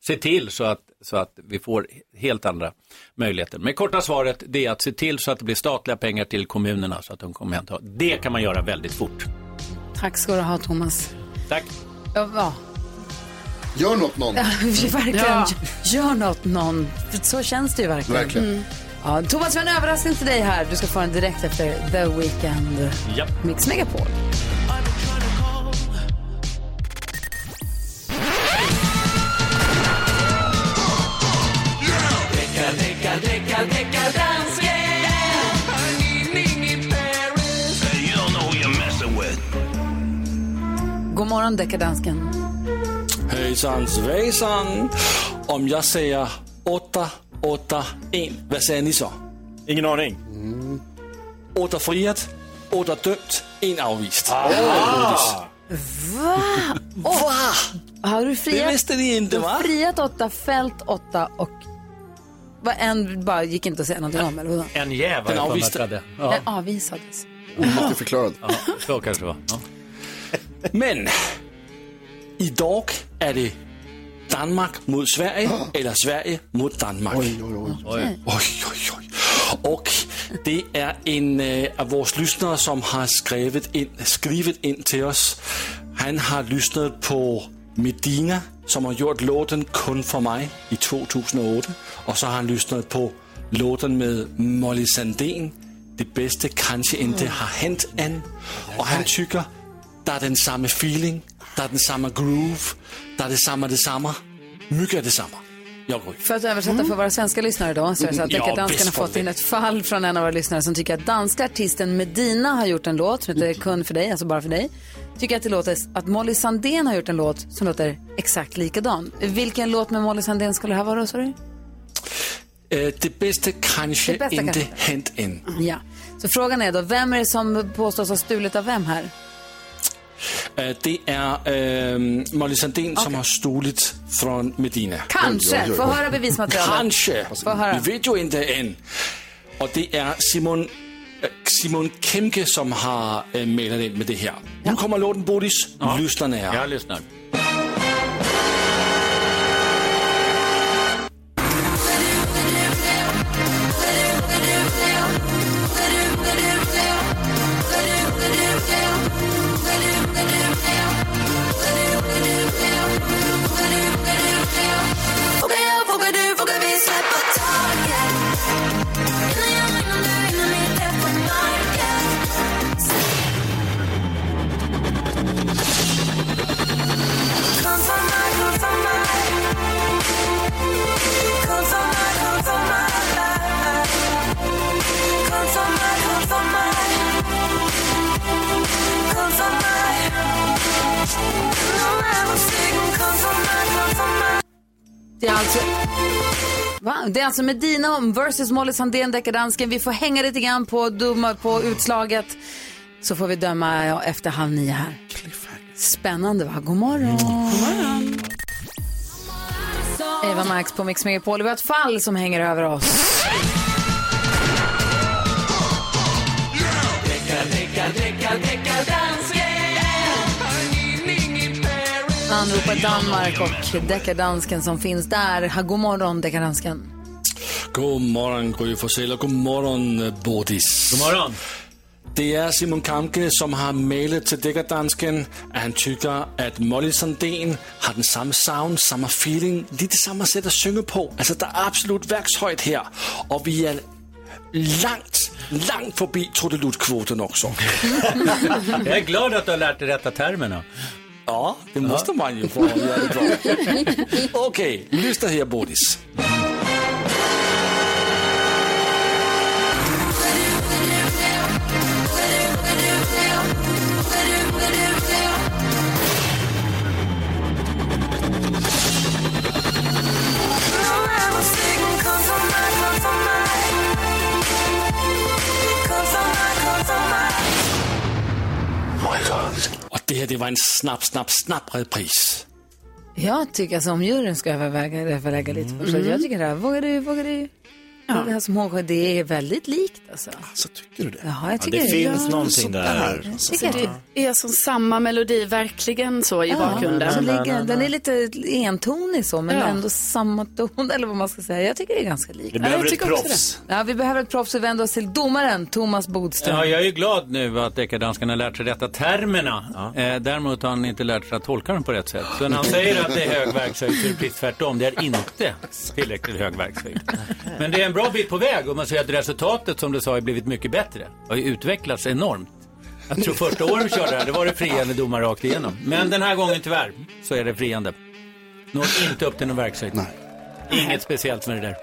Speaker 11: se till så att, så att vi får helt andra möjligheter. Men korta svaret det är att se till så att det blir statliga pengar till kommunerna så att de kommer hem. Det kan man göra väldigt fort.
Speaker 1: Tack ska du ha Thomas.
Speaker 11: Tack.
Speaker 1: Ja, ja.
Speaker 5: Gör något någon.
Speaker 1: Ja, verkligen.
Speaker 5: Ja.
Speaker 1: Gör något någon. För Så känns det ju verkligen.
Speaker 5: Verkligen.
Speaker 11: Mm.
Speaker 1: Ja, Thomas, vi har en överraskning till dig här. Du ska få den direkt efter The Weeknd.
Speaker 11: Japp.
Speaker 1: Mix Megapol. God morgon, deckardansken.
Speaker 6: Hejsan svejsan. Om jag säger åtta 8, 1. Vad säger ni så? Mm.
Speaker 2: Ingen aning.
Speaker 6: 8 friat, 8 dömt, 1 avvist. Ah.
Speaker 1: Va? Och, har du friat?
Speaker 6: Det visste ni inte,
Speaker 1: du har
Speaker 6: va?
Speaker 1: friat åtta, fält åtta och... Vad en bara gick inte att säga någonting om, eller hur?
Speaker 11: En
Speaker 6: Den
Speaker 11: jäv har jag för mig att
Speaker 6: avvisade.
Speaker 11: jag hade.
Speaker 1: Den avvisades.
Speaker 5: Omåttligt förklarad.
Speaker 11: Så kanske det var. Ja.
Speaker 6: Men idag är det Danmark mot Sverige eller Sverige mot Danmark. Oj, oj, oj.
Speaker 11: Oj.
Speaker 6: oj, oj. Och det är en eh, av våra lyssnare som har skrivit in, skrivit in till oss. Han har lyssnat på Medina som har gjort låten Kun för mig i 2008. Och så har han lyssnat på låten med Molly Sandén. Det bästa kanske inte har hänt än. Och han tycker der er den samme feeling, der er den samme groove, der er det samme det samme. Mycket er det samme. Jag går.
Speaker 1: För att översätta för våra svenska lyssnare då, så är det så att
Speaker 6: Mm, ja,
Speaker 1: Deckardanskarna danskarna
Speaker 6: visst
Speaker 1: fått
Speaker 6: var
Speaker 1: in
Speaker 6: det.
Speaker 1: ett fall från en av våra lyssnare som tycker att danska artisten Medina har gjort en låt som
Speaker 6: Mm.
Speaker 1: heter Kun för dig, alltså bara för dig. Tycker att det låter, att Molly Sandén har gjort en låt som låter exakt likadan. Vilken låt med Molly Sandén skulle det här vara då, sa du?
Speaker 6: Mm. Eh, det bästa kanske
Speaker 1: Det bästa
Speaker 6: inte
Speaker 1: kanske.
Speaker 6: hänt än.
Speaker 1: Ja. Så frågan är då, vem är det som påstås ha stulit av vem här?
Speaker 6: Eh, det är eh, Molly Sandén som har stulit från Medina.
Speaker 1: Kanske! Få höra bevismaterialet.
Speaker 6: Kanske.
Speaker 1: Få höra.
Speaker 6: Vi vet ju inte än. Och det är Simon, eh, Simon Kemke som har äh, mailat in med det här. Nu kommer låten Bodis. Lyssna nära.
Speaker 11: Jag lyssnar.
Speaker 1: Det är alltså... Va? Det är alltså Medina versus Molly Sandén, deckardansken. Vi får hänga lite grann på, dumma, på utslaget. Så får vi döma ja, efter halv nio här. Spännande va? God morgon. Mm. God morgon. Eva Max på Mix Megapol. Vi har ett fall som hänger över oss. Anropa Danmark och deckardansken som finns där. Ha, God morgon deckardansken.
Speaker 6: God morgon Gry Forssell och god morgon eh, Bodis.
Speaker 11: God morgon.
Speaker 6: Det är Simon Kamke som har mailat till Deckardansken att han tycker att Molly Sandén har den samma sound, samma feeling, lite samma sätt att sjunga på. Alltså det är absolut verkshöjd här. Och vi är långt, långt förbi trudeluttkvoten också.
Speaker 11: Jag är glad att du har lärt dig rätta termerna.
Speaker 6: Ja, det måste man ju få göra det bra. Okej, lyssna här Bodis. Och det här det var en snabb, snabb, snabb repris.
Speaker 1: Jag tycker alltså om juryn ska överväga, överlägga lite först. Jag tycker det här, vågar du, vågar du? Det här som hon det är väldigt likt alltså.
Speaker 5: Så tycker du det?
Speaker 1: Ja, jag
Speaker 2: Ja,
Speaker 1: tycker
Speaker 2: det finns
Speaker 1: ja.
Speaker 2: någonting där.
Speaker 1: Tycker jag.
Speaker 3: Det är som samma melodi verkligen så i bakgrunden.
Speaker 1: Så ligger, den är lite entonig så, men
Speaker 3: Ja.
Speaker 1: ändå samma ton, eller vad man ska säga. Jag tycker det är ganska likt.
Speaker 2: Vi behöver
Speaker 1: jag
Speaker 2: ett
Speaker 1: tycker också
Speaker 2: proffs.
Speaker 1: det. Ja, vi behöver ett proffs och vänder oss till domaren, Thomas Bodström.
Speaker 11: Ja, jag är ju glad nu att deckardanskarna har lärt sig rätta termerna. Eh, däremot har han inte lärt sig att tolka dem på rätt sätt. Så när han säger att det är hög verkshöjd så är det precis tvärtom. Det är inte tillräckligt hög verkshöjd. Men det är en bra bit på väg och man ser att resultatet som du sa har blivit mycket bättre. Det har ju utvecklats enormt. Jag tror första året vi körde det här, det var det friande domar rakt igenom. Men den här gången tyvärr så är det friande. Når inte upp till någon verkshöjd. Inget speciellt med det där.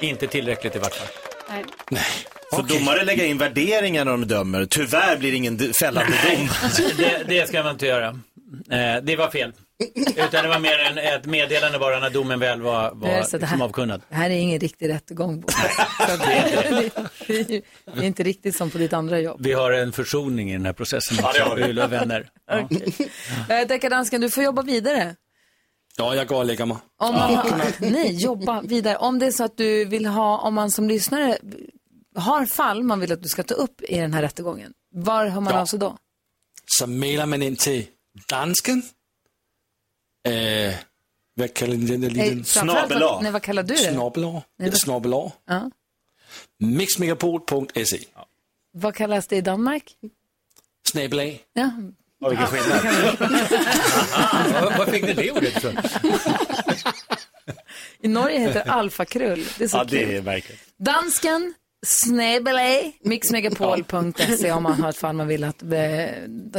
Speaker 11: Inte tillräckligt i vart fall.
Speaker 2: Får domare lägga
Speaker 1: <laughs>
Speaker 2: in värderingar när de dömer? Tyvärr blir det ingen d- fällande dom.
Speaker 11: det, det ska man inte göra.
Speaker 12: Eh, det var fel. Utan det var mer en, ett meddelande bara när domen väl var, var
Speaker 1: Det är Eh, så det
Speaker 12: liksom
Speaker 1: här-
Speaker 12: avkunnad.
Speaker 1: Det här är ingen riktig rättegång.
Speaker 2: <laughs>
Speaker 1: Bo. Så det, det, <laughs> det, det är inte riktigt som på ditt andra jobb.
Speaker 12: Vi har en försoning i den här processen.
Speaker 1: Ja, det har vi.
Speaker 12: Vi är vänner.
Speaker 1: Eh, Deckardansken, du får jobba vidare.
Speaker 6: Ja, jag går och lägger mig.
Speaker 1: Om man har, nej, jobba vidare. Om det är så att du vill ha, om man som lyssnare har fall man vill att du ska ta upp i den här rättegången, var hör man av sig då?
Speaker 6: Så mailer man in till dansken. Eh, vad kallar ni den där liten?
Speaker 1: Nej, framförallt vad- Nej, vad kallar du det?
Speaker 6: Snobbelår.
Speaker 1: Nej, vad-
Speaker 6: Snobbelår.
Speaker 1: Ja.
Speaker 6: Mixmegapol.se.
Speaker 1: Vad kallas det i Danmark?
Speaker 6: Snabel A.
Speaker 1: Ja.
Speaker 6: Ja, vilken skillnad. Vad fick ni det ordet ifrån?
Speaker 1: I Norge heter det alfakrull. Det är så
Speaker 2: ja,
Speaker 1: kul.
Speaker 2: det är verkligen.
Speaker 1: Dansken, snabelej, mixmegapol.se om man har ett fall man vill att eh,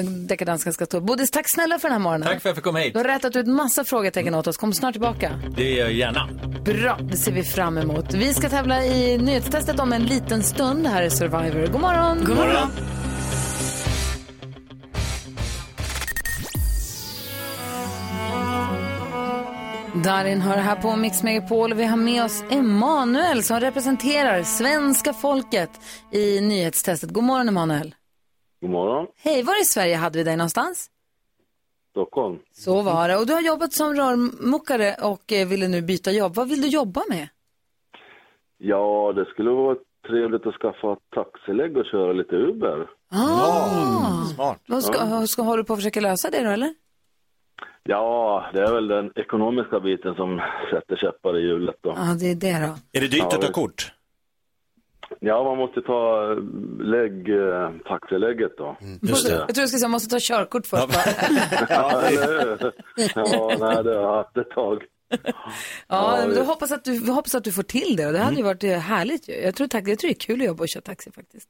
Speaker 1: deckardansken ska ta upp. Bodis, tack snälla för den här morgonen.
Speaker 12: Tack för att jag fick komma hit.
Speaker 1: Du har rätat ut massa frågetecken åt oss. Kom snart tillbaka.
Speaker 12: Det gör jag gärna.
Speaker 1: Bra, det ser vi fram emot. Vi ska tävla i nyhetstestet om en liten stund. Det här är Survivor. God morgon!
Speaker 3: God morgon.
Speaker 1: Darin hör här på Mix Megapol och vi har med oss Emanuel som representerar svenska folket i nyhetstestet. God morgon Emanuel!
Speaker 13: God morgon,
Speaker 1: Hej, var i Sverige hade vi dig någonstans?
Speaker 13: Stockholm.
Speaker 1: Så var det. Och du har jobbat som rörmokare och eh, ville nu byta jobb. Vad vill du jobba med?
Speaker 13: Ja, det skulle vara trevligt att skaffa taxilägg och köra lite Uber.
Speaker 1: Ah!
Speaker 2: Mm, Smart.
Speaker 1: Vad ska,
Speaker 13: Ja.
Speaker 1: ska, håller du på att försöka lösa det då eller?
Speaker 13: Ja, det är väl den ekonomiska biten som sätter käppar i hjulet då.
Speaker 1: Ja, det är det då.
Speaker 2: Är det dyrt
Speaker 13: Ja,
Speaker 2: att ta
Speaker 13: visst.
Speaker 2: kort?
Speaker 13: Ja, man måste ta eh, lägg, eh, taxilägget då.
Speaker 1: Måste- Jag tror jag ska säga, jag måste ta körkort först bara.
Speaker 13: ja, eller hur? Ja, nej, det har jag haft ett tag.
Speaker 1: Ja,
Speaker 13: Ja,
Speaker 1: men då
Speaker 13: visst.
Speaker 1: hoppas att du, vi hoppas att du får till det. Och det hade
Speaker 6: Mm.
Speaker 1: ju varit eh, härligt ju. Jag tror, tack, jag tror det är kul att jobba och köra taxi faktiskt.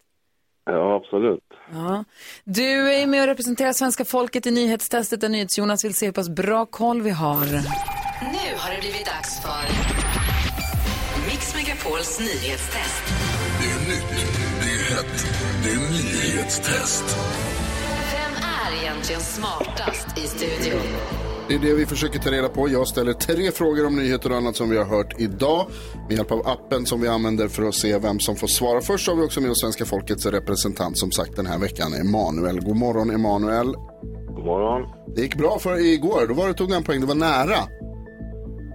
Speaker 13: Ja, absolut.
Speaker 1: Ja. Du är med och representerar svenska folket i nyhetstestet där NyhetsJonas vill se hur pass bra koll vi har.
Speaker 14: Nu har det blivit dags för Mix Megapols nyhetstest.
Speaker 15: Det är nytt, det är hett, det är nyhetstest.
Speaker 14: Vem är egentligen smartast i studion?
Speaker 5: Det är det vi försöker ta reda på. Jag ställer tre frågor om nyheter och annat som vi har hört idag med hjälp av appen som vi använder för att se vem som får svara. Först har vi också med oss svenska folkets representant som sagt den här veckan, Emanuel. God morgon Emanuel.
Speaker 13: God morgon.
Speaker 5: Det gick bra för igår. Då var det, tog du en poäng. Det var nära.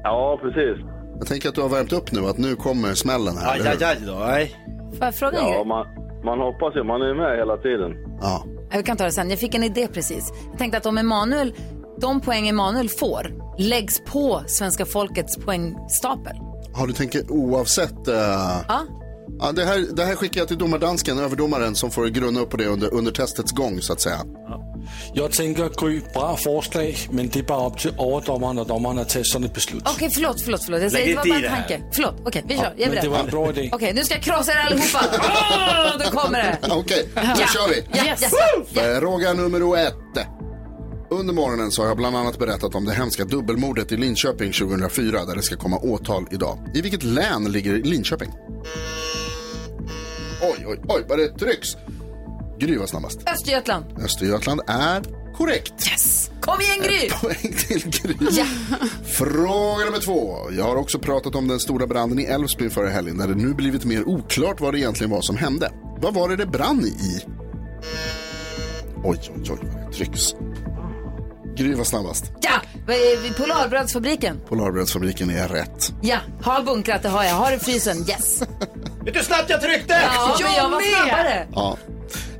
Speaker 13: Ja, precis.
Speaker 5: Jag tänker att du har värmt upp nu, att nu kommer smällen här. eller hur?
Speaker 2: då, nej.
Speaker 1: Får jag fråga en
Speaker 13: Ja,
Speaker 1: grej?
Speaker 13: man, man hoppas ju. Man är ju med hela tiden.
Speaker 5: Ja.
Speaker 1: Jag kan ta det sen. Jag fick en idé precis. Jag tänkte att om Emanuel, de poäng Emanuel får läggs på svenska folkets poängstapel.
Speaker 5: Har du tänker oavsett... eh,
Speaker 1: Ja.
Speaker 5: Ja, det, här, det här skickar jag till domardansken, överdomaren, som får grunna upp på det under, under testets gång så att säga.
Speaker 6: Jag tänker Gry, bra förslag, men det är bara upp till överdomaren när domaren har tagit sådant ett beslut.
Speaker 1: Okej, förlåt, förlåt, förlåt. Jag
Speaker 6: Lägg
Speaker 1: säger, det var bara
Speaker 6: inte i
Speaker 1: en
Speaker 6: det här.
Speaker 1: tanke. Förlåt, okej, vi
Speaker 6: Ja,
Speaker 1: kör. Jag är
Speaker 6: men
Speaker 1: beredd.
Speaker 6: det var en bra idé.
Speaker 1: Okej, nu ska jag krossa er
Speaker 6: <laughs>
Speaker 1: allihopa. Åh, då kommer det.
Speaker 5: Okej, då kör vi.
Speaker 1: <laughs> Ja, yes.
Speaker 5: Fråga nummer ett. Under morgonen så har jag bland annat berättat om det hemska dubbelmordet i Linköping 2004 där det ska komma åtal idag. I vilket län ligger Linköping? Oj, oj, oj, vad det trycks. Gry var snabbast.
Speaker 1: Östergötland.
Speaker 5: Östergötland är korrekt.
Speaker 1: Yes! Kom igen Gry!
Speaker 5: Poäng till Gry. Fråga nummer två. Jag har också pratat om den stora branden i Älvsbyn förra helgen där det nu blivit mer oklart vad det egentligen var som hände. Vad var det det brann i? Oj, oj, oj, vad det trycks. Gry var snabbast.
Speaker 1: Ja! Vad är vi? Polarbrödsfabriken.
Speaker 5: Polarbrödsfabriken är rätt.
Speaker 1: Ja, har bunkrat, det har jag. Har det i frysen. Yes!
Speaker 2: Vet du hur snabbt jag tryckte?
Speaker 1: <laughs> Ja, men jag var snabbare.
Speaker 5: Ja.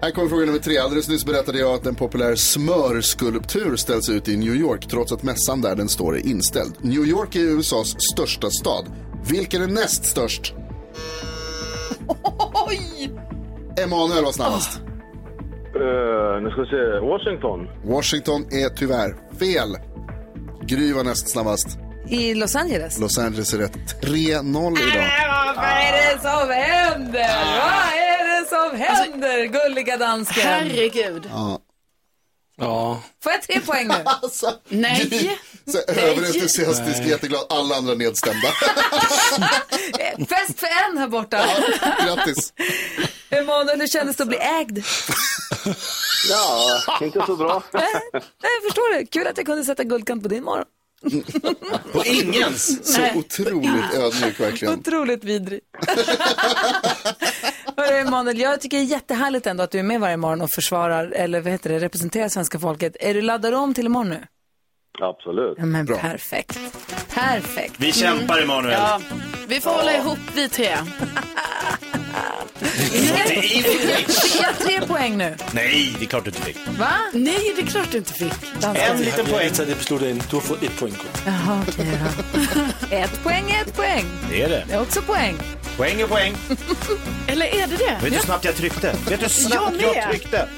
Speaker 5: Här kommer fråga nummer tre. Alldeles nyss berättade jag att en populär smörskulptur ställs ut i New York trots att mässan där den står är inställd. New York är USAs största stad. Vilken är näst störst?
Speaker 1: Oj!
Speaker 5: Emanuel var snabbast.
Speaker 13: Eh, nu ska vi se. Washington.
Speaker 5: Washington är tyvärr fel. Gry var näst snabbast.
Speaker 1: I Los Angeles.
Speaker 5: Los Angeles är rätt. 3-0 idag.
Speaker 1: Vad är det som händer? Vad är det som händer, gulliga dansken?
Speaker 3: Herregud.
Speaker 5: Ja.
Speaker 6: Ja.
Speaker 1: Får jag tre poäng <laughs> nu?
Speaker 3: Nej.
Speaker 5: <laughs> Så överentusiastisk, jätteglad. Alla andra nedstämda.
Speaker 1: Fest för en här borta.
Speaker 5: Grattis.
Speaker 1: Emanuel, hur kändes det att bli ägd? <laughs>
Speaker 10: Ja, inte så bra.
Speaker 1: Nej, jag förstår det. Kul att jag kunde sätta guldkant på din morgon.
Speaker 2: På ingens.
Speaker 5: Så
Speaker 1: Nej.
Speaker 5: otroligt ödmjuk verkligen.
Speaker 1: Otroligt vidrig. <laughs> Hörru, Emanuel, jag tycker det är jättehärligt ändå att du är med varje morgon och försvarar, eller vad heter det, representerar svenska folket. Är du laddad om till imorgon nu?
Speaker 10: Absolut.
Speaker 1: Ja, men perfekt. Perfekt.
Speaker 2: Vi kämpar Emanuel.
Speaker 3: Ja, vi får hålla ihop vi tre.
Speaker 2: <laughs>
Speaker 1: Fick jag tre poäng nu?
Speaker 2: Nej, det är klart du inte fick.
Speaker 1: Va?
Speaker 3: Nej, det är klart du inte fick.
Speaker 2: En liten poäng.
Speaker 16: Jag det beslutet än. Du har fått ett poäng.
Speaker 1: Jaha, okej då. Ett poäng är ett poäng.
Speaker 2: Det är det.
Speaker 1: Det är också poäng.
Speaker 2: Poäng är poäng.
Speaker 3: Eller är det det?
Speaker 2: Vet du hur snabbt jag tryckte? Vet du hur snabbt
Speaker 3: Jag
Speaker 2: jag,
Speaker 3: med.
Speaker 2: tryckte?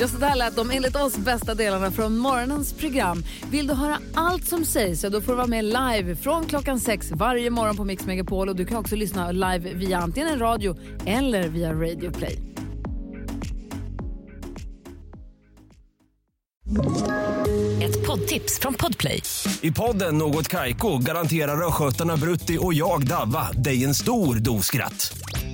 Speaker 17: Ja, så där lät de enligt oss bästa delarna från morgonens program. Vill du höra allt som sägs så då får du vara med live från klockan sex varje morgon på Mix Megapol. Och du kan också lyssna live via antingen en radio eller via Radio Play.
Speaker 18: Ett poddtips från Podplay.
Speaker 6: I podden Något Kaiko garanterar östgötarna Brutti och jag, Davva, dig en stor dos skratt.